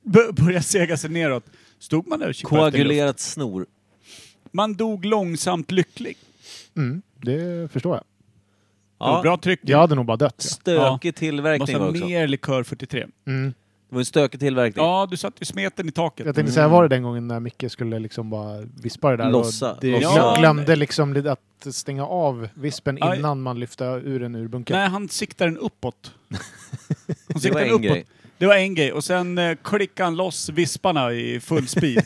S1: B- började sega sig neråt. Stod man där och kippade efter luft?
S3: Koagulerat snor.
S1: Man dog långsamt lycklig.
S2: Mm, det förstår jag.
S1: Det var
S3: Ja,
S1: bra tryck.
S2: Jag hade nog bara dött.
S3: stökig
S1: Måste
S3: tillverkning var
S1: ha
S3: det också.
S1: mer likör 43.
S2: Ja. Mm.
S3: Det var en stökig tillverkning.
S1: Ja, du satte ju smeten i taket.
S2: Jag tänkte säga, var det den gången när Micke skulle liksom bara vispa det där? och
S3: Lossa.
S2: Det
S3: Lossa.
S1: Ja.
S2: Jag glömde liksom det- att stänga av vispen
S1: Aj.
S2: innan man lyfte ur den ur bunkern.
S1: Nej, han siktade den
S3: [LAUGHS]
S1: uppåt. Han
S3: Det var
S1: siktade den
S3: en
S1: uppåt.
S3: grej.
S1: Det var en grej. Och sen eh, klickade han loss visparna i full
S3: [LAUGHS]
S1: speed.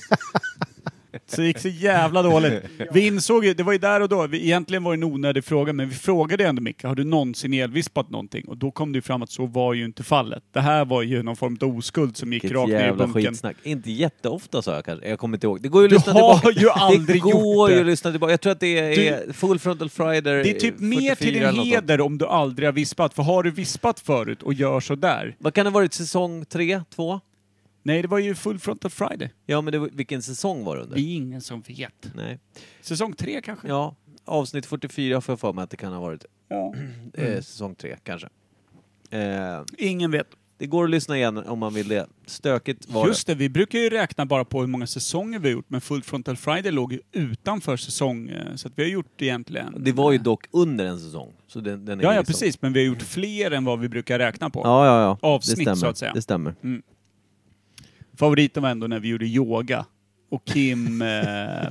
S1: Så det gick så jävla dåligt. Vi insåg ju, det var ju där och då, vi, egentligen var det en onödig fråga, men vi frågade ändå Micke, har du någonsin elvispat någonting? Och då kom det ju fram att så var ju inte fallet. Det här var ju någon form av oskuld som gick
S3: Vilket
S1: rakt ner i
S3: jävla
S1: bunken.
S3: skitsnack. Inte jätteofta sa jag kanske. Jag kommer inte ihåg. Det går ju att
S1: Du
S3: lyssna
S1: har
S3: tillbaka.
S1: ju aldrig
S3: [LAUGHS] det
S1: gjort
S3: går
S1: det.
S3: ju att lyssna tillbaka. Jag tror att det är Full Frontal Friday
S1: Det är typ mer
S3: 44
S1: till
S3: eller
S1: din
S3: något sånt.
S1: heder om du aldrig har vispat, för har du vispat förut och gör så där.
S3: Vad kan det ha varit? Säsong tre, två?
S1: Nej, det var ju Full Frontal Friday.
S3: Ja, men det, var- vilken säsong var det under?
S1: Det är ingen som vet.
S3: Nej.
S1: Säsong tre kanske?
S3: Ja, avsnitt 44 får jag för mig att det kan ha varit.
S1: Ja.
S3: Eh,
S1: Mm.
S3: säsong tre, kanske. Eh,
S1: Ingen vet.
S3: det går att lyssna igen om man vill det. Stökigt var
S1: Just det, vi brukar ju räkna bara på hur många säsonger vi har gjort, men Full Frontal Friday låg ju utanför säsong, eh, så att vi har gjort egentligen...
S3: det. Det var ju dock under en säsong. Så den, den är
S1: Ja, ja,
S3: liksom-
S1: precis, men vi har gjort fler än vad vi brukar räkna på.
S3: Ja, ja, ja.
S1: Avsnitt,
S3: det stämmer.
S1: så att säga.
S3: Det stämmer.
S1: Favoriten var ändå när vi gjorde yoga. Och Kim, eh,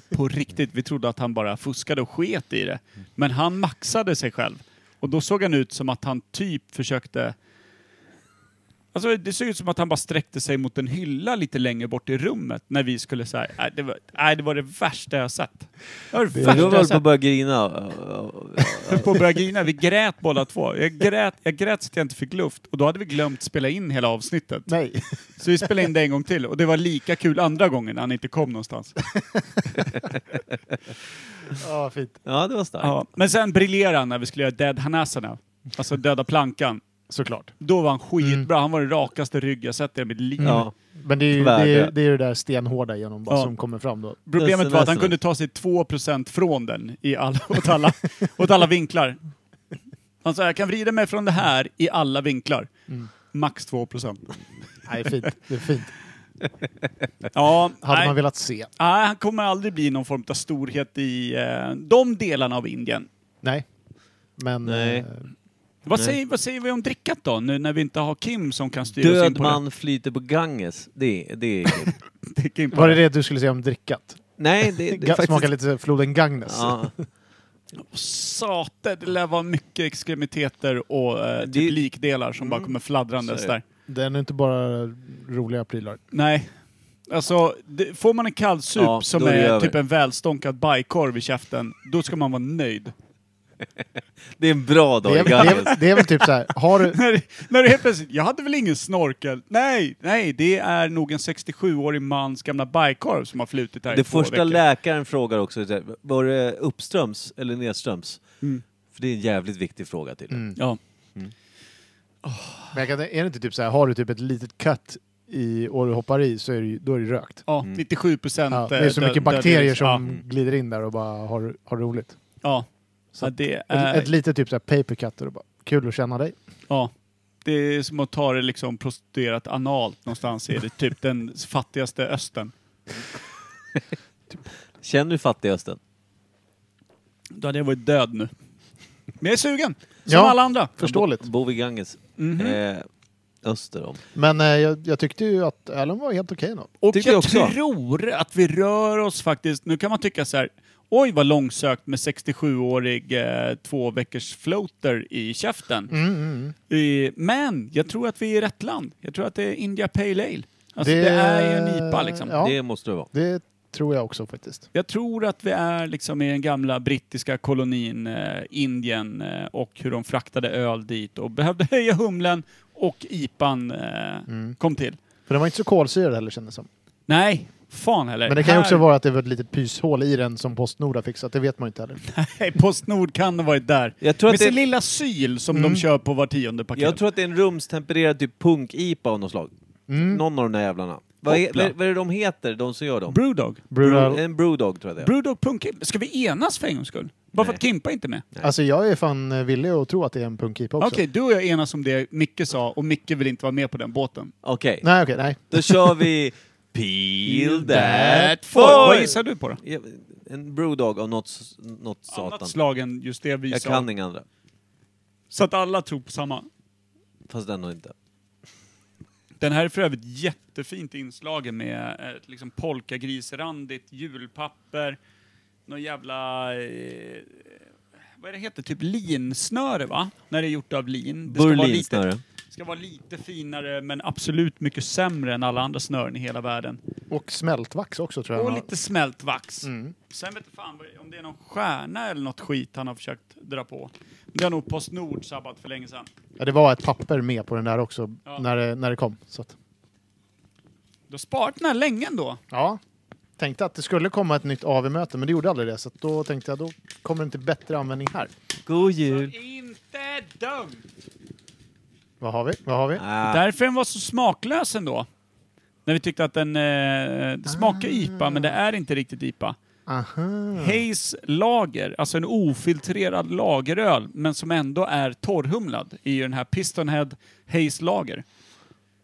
S1: på riktigt, vi trodde att han bara fuskade och sket i det. Men han maxade sig själv. Och då såg han ut som att han typ försökte... Alltså det såg ut som att han bara sträckte sig mot en hylla lite längre bort i rummet när vi skulle säga nej, det, var- nej, det var det värsta jag sett. Det var det
S3: Du
S1: värsta
S3: har
S1: jag
S3: väl på att
S1: sett.
S3: börja grina?
S1: På att börja grina. Vi grät båda två. Jag grät, jag grät så att jag inte fick luft. Och då hade vi glömt spela in hela avsnittet.
S2: Nej.
S1: Så vi spelade in det en gång till och det var lika kul andra gången när han inte kom någonstans.
S2: [LAUGHS] Ja, fint.
S3: Ja, det var starkt.
S1: Ja. Men sen briljerade han när vi skulle göra Dead Hanasana, alltså Döda plankan.
S2: Såklart.
S1: Då var han skitbra, han var den rakaste rygg jag sett i mitt liv.
S3: Ja.
S2: Men det är ju det,
S3: Värde.
S2: är, det, är ju det där stenhårda genom bara
S1: Ja.
S2: som kommer fram då.
S1: Problemet var att han
S3: Nästan.
S1: kunde ta sig 2% från den i alla, [LAUGHS] åt, alla, åt alla vinklar. Han sa jag kan vrida mig från det här i alla vinklar.
S2: Mm.
S1: Max
S2: [LAUGHS]
S1: 2%.
S2: Nej, fint. Det är fint.
S1: Ja,
S2: Hade
S1: nej.
S2: man velat se.
S1: Nej, han kommer aldrig bli någon form av storhet i eh, de delarna av Indien.
S2: Nej. Men...
S3: Nej.
S2: eh,
S1: Vad
S3: Nej.
S1: säger, vad säger vi om drickat då, nu när vi inte har Kim som kan styra oss in
S3: Död
S1: på
S3: man flyter på Ganges. Det, det
S1: [LAUGHS]
S3: är kul.
S1: det? det? är [LAUGHS] Kim på
S2: Var det det du skulle säga om drickat?
S3: Nej, det, det
S2: Ga-
S3: är faktiskt...
S2: Smakar lite floden Ganges.
S3: Ja,
S1: Sate, det lär vara mycket extremiteter och eh, typ
S3: Det- Mm.
S1: likdelar som bara kommer fladdrandes
S3: Så är det.
S1: där.
S2: Den är inte bara roliga prylar.
S1: Nej. Alltså, det, får man en kallsup
S3: Ja,
S1: som
S3: då är det
S1: är
S3: över.
S1: typ en välstånkad bajkorv i käften, då ska man vara nöjd. [LAUGHS]
S3: det är en bra dag
S2: Det är,
S3: i
S2: det,
S3: Ganges.
S2: är, det är väl typ så här, har du...
S1: när, när det helt plötsligt, jag hade väl ingen snorkel? Nej, nej, det är nog en 67-årig mans gamla bajkorv som har flutit här i
S3: Det
S1: två
S3: första
S1: veckor.
S3: läkaren frågar också, så här, var det uppströms eller nedströms? För det är en jävligt viktig fråga till.
S1: Ja.
S2: Men jag kan, är det inte typ så här, har du typ ett litet cut i, och du hoppar i så är det, ju- då är det rökt.
S1: Ja,
S3: Mm.
S1: 97 procent. eh,
S2: Ja, det är så mycket bakterier som
S1: Mm.
S2: glider in där och bara har, har roligt.
S1: Ja,
S2: Så
S1: ja.
S2: att
S1: det
S2: ett,
S1: är...
S2: ett litet typ så här paper cut och det bara, kul att känna dig.
S1: Ja. Det är som att ta det liksom prostituerat analt någonstans i det, typ den fattigaste östern.
S3: Känner du fattigasten?
S1: Då hade jag varit död nu. Men jag är sugen! Som
S2: Ja.
S1: alla andra. Mhm.
S2: Förståeligt.
S3: Bo vid Ganges. Eh, öster om.
S2: Men eh, jag, jag tyckte ju att ölen var helt okej då.
S1: Och
S3: Tycker
S1: jag
S3: jag också.
S1: tror att vi rör oss faktiskt, nu kan man tycka så här, oj vad långsökt med 67-årig eh, två veckors floater i käften.
S2: Mm, mm.
S1: Eh, men jag tror att vi är i rätt land. Jag tror att det är India Pale Ale. Alltså det,
S2: Det-
S1: är ju en IPA liksom.
S2: Ja.
S3: Det måste det vara.
S2: Det tror jag också faktiskt.
S1: Jag tror att vi är liksom i den gamla brittiska kolonin eh, Indien eh, och hur de fraktade öl dit och behövde [LAUGHS] höja humlen och IPAn eh, kom till.
S2: Mm. För den var inte så kolsyrad heller kändes det som.
S1: Nej, fan heller.
S2: Men det kan ju
S1: Här-
S2: också vara att det var ett litet pyshål i den som Postnord har fixat. Det vet man
S1: [LAUGHS]
S2: ju inte heller.
S1: [LAUGHS] Nej, Postnord kan ha varit där.
S3: Jag tror att
S1: Med
S3: det-
S1: sin lilla syl som
S2: Mm.
S1: de kör på var tionde paket.
S3: Jag tror att det är en rumstempererad typ punk-IPA av något slag. Någon av de där jävlarna. Vad är,
S1: Mm. Hoppla.
S3: vad, vad är det de heter, de som gör dem?
S1: Brewdog.
S2: Brutal.
S3: en brewdog tror jag det är.
S1: Brewdog punk Ska vi enas för en gångs skull? Bara för
S3: Nej.
S1: att Kimpa inte är med?
S2: Alltså jag är fan eh, villig att tro att det är en punkipa också.
S1: Okej, du och jag enas om det Micke sa och Micke vill inte vara med på den båten.
S3: Okej,
S2: Nej, okej, nej.
S3: då kör vi Peel that
S1: Vad
S3: foil!
S1: gissar du på då?
S3: Ja, En brewdog av något, s- något
S1: Annat
S3: satan.
S1: slag än just det vi
S3: Jag
S1: sa.
S3: kan inga andra.
S1: Så att alla tror på samma.
S3: Fast ändå inte.
S1: Den här är för övrigt jättefint inslagen med ett liksom polkagrisrandigt julpapper, någon jävla... Eh, vad är det heter? Typ linsnöre va? När det är gjort av lin. Det ska vara lite-
S3: Berlinsnöre.
S1: ska vara lite finare men absolut mycket sämre än alla andra snören i hela världen.
S2: Och smältvax också tror jag.
S1: Och
S2: han har.
S1: lite smält vax. Sen vet jag fan vad- om det är någon stjärna eller något skit han har försökt dra på. Det har nog Postnord sabbat för länge sedan.
S2: Ja, det var ett papper med på den där också
S1: Ja.
S2: när, det, när det kom. Så att,
S1: Du har sparat den här länge ändå.
S2: ja. Tänkte att det skulle komma ett nytt AV-möte, men det gjorde aldrig det. Så att då tänkte jag då kommer den till bättre användning här.
S3: God
S1: Så
S3: jul!
S1: inte dumt!
S2: Vad har vi? Vad har vi?
S3: Ah,
S1: Därför den var så smaklös ändå. När vi tyckte att den eh, det smakar IPA, men det är inte riktigt IPA.
S2: Ah. Aha.
S1: Hayes lager, alltså en ofiltrerad lageröl, men som ändå är torrhumlad, är ju den här Pistonhead Hayes lager.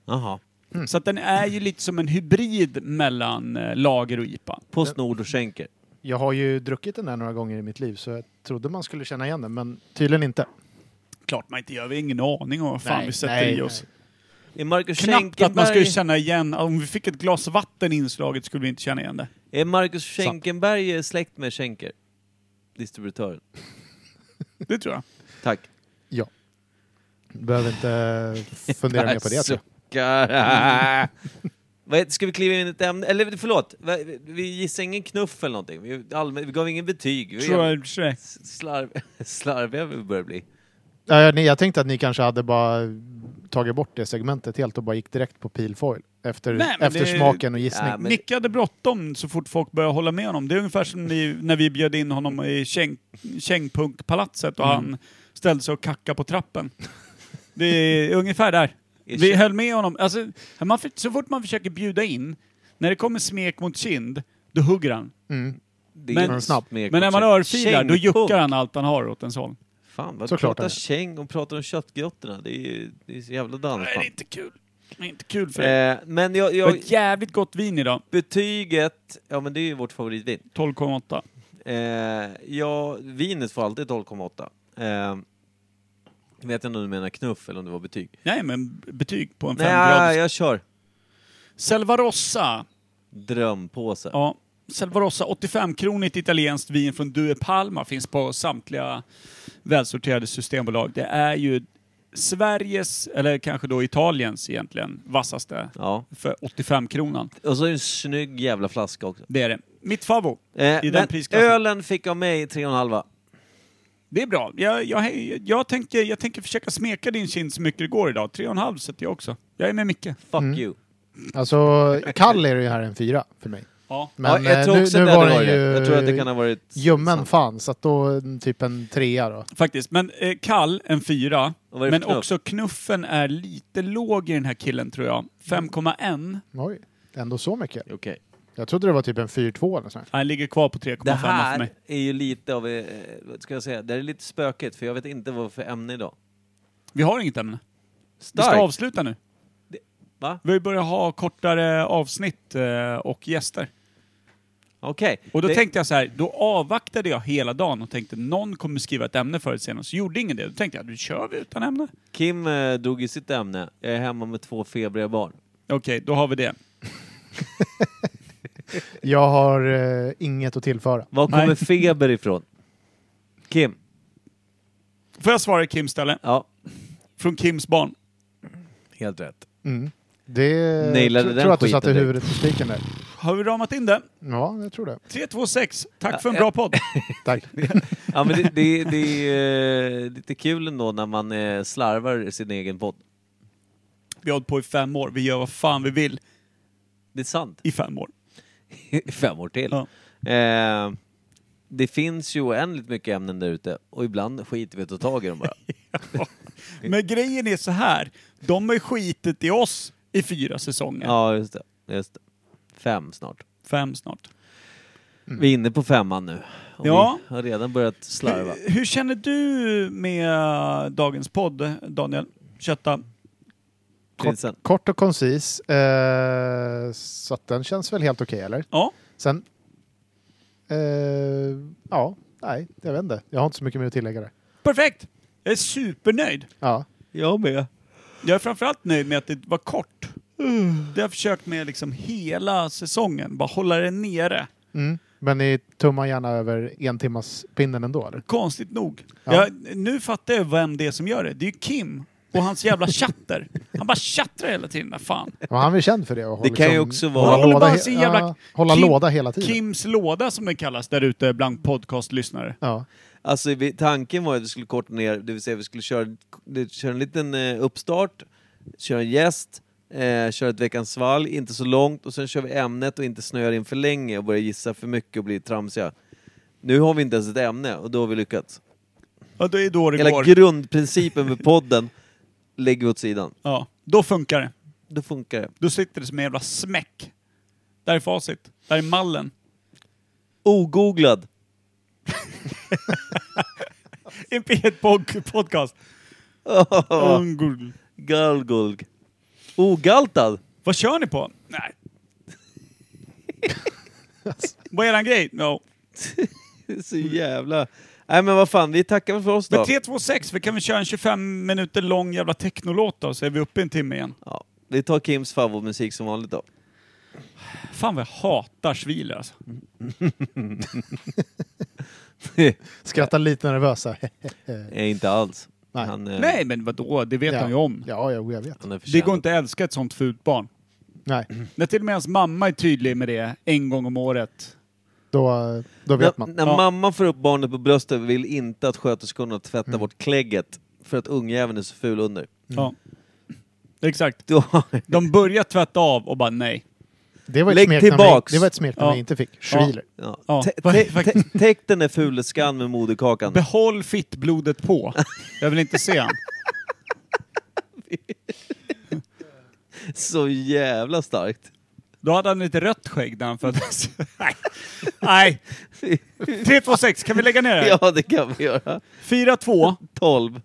S3: Jaha.
S2: Mm.
S1: Så att den är ju lite som en hybrid mellan eh, lager och IPA.
S3: Postnord och skänker.
S2: Jag har ju druckit den där några gånger i mitt liv så jag trodde man skulle känna igen den, men tydligen inte.
S1: Klart man inte gör, vi har ingen aning om vad fan
S2: Nej,
S1: vi sätter
S2: nej,
S1: i oss.
S3: Är Marcus
S1: Knappt att man skulle
S3: Schenkenberg,
S1: känna igen, om vi fick ett glas vatten inslaget skulle vi inte känna igen det.
S3: är Marcus Schenkenberg släkt med Schenker? Distributören.
S1: Det tror jag.
S3: Tack.
S2: Ja. Behöver inte fundera mer på det. tror jag.
S3: Suckar. [LAUGHS] Vad heter- Ska vi kliva in i ett ämne? Eller förlåt, va- vi gissade ingen knuff eller någonting. Vi, allmän, vi gav ingen betyg. Vi var
S1: Tror jag.
S3: s- slarv, [LAUGHS] slarviga vi börjar bli.
S2: Ja, ni- Jag tänkte att ni kanske hade bara tagit bort det segmentet helt och bara gick direkt på pilfoil efter,
S1: Nej, men
S2: efter
S1: det-
S2: smaken och gissning.
S3: Ja, men-
S1: Micke hade bråttom så fort folk började hålla med honom. Det är ungefär som ni, när vi bjöd in honom i Käng- Kängpunkpalatset och
S3: Mm.
S1: han ställde sig och kackade på trappen. Det är ungefär där. Vi höll med honom. Alltså, man, för- så fort man försöker bjuda in, när det kommer smek mot kind, då hugger han.
S2: Mm.
S3: Det är
S1: Men-
S3: ju en snabb med-
S1: Men när man örfilar, då
S3: Kängpung.
S1: juckar han allt han har åt en sån.
S3: Fan, vad
S2: Såklart
S3: pratar
S2: är det.
S3: käng och pratar om köttgrottorna. Det är ju det är så jävla
S1: Nej, det är
S3: dansband.
S1: inte kul. Det är inte kul för dig.
S3: Eh, men jag,
S1: Det var
S3: jag,
S1: ett jävligt gott vin idag.
S3: betyget, ja men det är ju vårt favoritvin.
S1: 12,8.
S3: Eh, ja, vinet får alltid 12,8. Eh, jag vet inte om du menar knuff eller om det var betyg.
S1: Nej, men betyg på en
S3: Nej,
S1: 5-gradig.
S3: jag kör.
S1: Selvarossa
S3: Drömpåse.
S1: Ja. Selvarossa 85-kronigt italienskt vin från Due Palma finns på samtliga välsorterade systembolag. Det är ju Sveriges, eller kanske då Italiens egentligen, vassaste
S3: Ja.
S1: för 85-kronan.
S3: Och så är det en snygg jävla flaska också.
S1: Det är det. Mitt favvo.
S3: Eh,
S1: I den
S3: men
S1: prisklassen.
S3: ölen fick av mig 3,5.
S1: Det är bra. Jag, jag, jag, tänker, jag tänker försöka smeka din kind så mycket det går idag. 3,5 sätter jag också. Jag är med Micke.
S3: Fuck you.
S2: Alltså, kall är det ju här en fyra för mig.
S1: Ja.
S2: Men
S3: ja, jag
S2: eh,
S3: tror
S2: nu,
S3: också
S2: nu
S3: det
S2: var
S3: hade
S2: den
S3: varit
S2: ju
S3: rätt. Jag tror att det kan ha varit...
S2: ljummen
S3: sant.
S2: fan, så att då mm, typ en trea då.
S1: Faktiskt. Men eh, kall, en fyra.
S3: Och vad är det
S1: Men
S3: för knuff?
S1: också knuffen är lite låg i den här killen tror jag. 5,1.
S2: Oj, ändå så mycket.
S3: Okej.
S2: Jag trodde det var typ en 4-2 eller sånt.
S1: Han ligger kvar på 3,5
S3: Det
S1: för
S3: här
S1: mig.
S3: är ju lite av... eh, Vad ska jag säga? Det här är lite spökigt för jag vet inte vad för ämne idag.
S1: Vi har inget ämne. Vi ska
S3: Starkt!
S1: avsluta nu.
S3: Va?
S1: Vi börjar ha kortare avsnitt eh, och gäster.
S3: Okej.
S1: Och då
S3: Det-
S1: tänkte jag så här, då avvaktade jag hela dagen och tänkte någon kommer skriva ett ämne förut senare. Så gjorde ingen det. Då tänkte jag, nu kör vi utan ämne.
S3: Kim eh, drog ju sitt ämne. Jag är hemma med två febriga barn.
S1: Okej, då har vi det.
S2: Jag har eh, inget att tillföra.
S3: Var kommer
S1: Nej.
S3: feber ifrån? Kim?
S1: Får jag svara i Kims ställe?
S3: Ja,
S1: Från Kims barn.
S3: helt rätt.
S2: Mm. Det
S3: Nailade
S2: tro-
S3: den
S2: tror att du
S3: skiten
S2: satte
S3: direkt.
S2: huvudet på spiken där.
S1: Har vi ramat in det?
S2: Ja, jag tror det.
S1: 326. Tack för en bra podd.
S2: Tack.
S3: Ja, men det, det, det är eh, lite kul ändå när man eh, slarvar sin egen podd.
S1: Vi har hållit på i fem år. Vi gör vad fan vi vill.
S3: Det
S1: [LAUGHS]
S3: är sant.
S1: i fem år.
S3: I fem år till.
S1: Ja.
S3: Eh, det finns ju oändligt mycket ämnen där ute och ibland skiter vi att ta tag i
S1: [LAUGHS]
S3: dem bara.
S1: Men grejen är så här, de har ju skitit i oss i fyra säsonger.
S3: ja, just det. Just det. Fem snart.
S1: Fem snart.
S3: Vi är inne på femman nu. Och
S1: Mm. Ja.
S3: Vi har redan börjat
S1: [LAUGHS]
S3: slarva.
S1: Hur, hur känner du med dagens podd, Daniel? Kötta?
S2: Kort,
S3: Prinsen.
S2: kort och koncis. Eh, så att den känns väl helt okej, eller?
S1: Ja.
S2: Sen... Eh, ja, nej, jag vet inte. Jag har inte så mycket mer att tillägga där.
S1: Perfekt! Jag är supernöjd.
S2: Ja.
S3: Jag med.
S1: Jag är framförallt nöjd med att det var kort. Det har jag försökt med liksom hela säsongen, bara hålla det nere.
S2: Mm. Men ni tummar gärna över en timmas pinnen ändå, eller?
S1: Konstigt nog.
S2: Ja.
S1: Jag, nu fattar jag vem det är som gör det. Det är ju Kim och hans jävla chatter. Han bara chattar hela tiden, där fan.
S2: Men han är känd för det. och har
S3: Det kan ju också vara-
S1: Han
S2: Hålla,
S1: håller
S2: låda,
S1: bara
S2: he-
S1: sin jävla
S2: ja, hålla
S1: Kim-
S2: låda hela tiden.
S1: Kims låda som den kallas där ute bland podcastlyssnare.
S2: Ja.
S3: Alltså vi, tanken var att vi skulle korta ner, det vill säga vi skulle köra, köra en liten eh, uppstart, köra en gäst, eh, köra ett veckans svalg, inte så långt och sen kör vi ämnet och inte snöar in för länge och börjar gissa för mycket och bli tramsiga. Nu har vi inte ens ett ämne och då har vi lyckats.
S1: Ja, det är då det
S3: Hela
S1: går.
S3: grundprincipen med podden [LAUGHS] lägger vi åt sidan.
S1: Ja, då funkar det.
S3: Då funkar det.
S1: Då sitter det som en jävla smäck. Där är facit. Där är [LAUGHS] mallen.
S3: Ogooglad.
S1: En p podcast. Oh. Ungul.
S3: Galgulg. Ogaltad.
S1: Vad kör ni på? Nej. [LAUGHS] Vad är eran grej? No.
S3: [LAUGHS] Det är Så jävla... Nej men vad fan, vi tackar väl för oss
S1: Men
S3: då.
S1: 326, vi kan väl köra en 25 minuter lång jävla technolåt då, så är vi uppe i en timme igen.
S3: Ja, vi tar Kims favoritmusik som
S1: [LAUGHS]
S3: vanligt då.
S1: Fan vad jag hatar Schwiler alltså.
S2: Skrattar lite nervösa.
S3: Eh, inte alls.
S2: Nej.
S3: Han, eh,
S1: Nej men vadå, det vet
S2: [LAUGHS] ja.
S1: han ju om.
S2: Ja, ja, jag vet.
S3: han är
S1: Det går
S3: förtjänad.
S1: inte att älska ett sånt fult barn.
S2: Nej,
S1: När till och med hans mamma är tydlig med det en gång om året.
S2: då, då
S3: När,
S2: vet man.
S3: när
S1: Ja.
S3: mamma får upp barnet på bröstet vill inte att sköterskorna tvättar
S1: Mm.
S3: bort klägget för att ungjäveln är så ful under.
S1: Ja. Mm. Exakt.
S3: Då,
S1: De börjar tvätta av och bara nej.
S2: Det var ett
S3: Lägg
S2: smeknamn
S3: tillbaks.
S2: jag- Det var ett smeknamn
S1: Ja.
S2: jag inte fick. Schwiler.
S3: ja.
S1: Ja,
S3: Tä-
S1: vad-
S3: tä-
S1: faktiskt.
S3: tä- Täck den där fuleskan med moderkakan.
S1: Behåll fittblodet på. Jag vill inte se han.
S3: Så jävla starkt. [LAUGHS]
S1: Då hade han lite rött skägg när han föddes. Nej. Nej. 326, kan vi lägga ner det?
S3: Ja, det kan vi göra.
S1: 4-2.
S3: 12.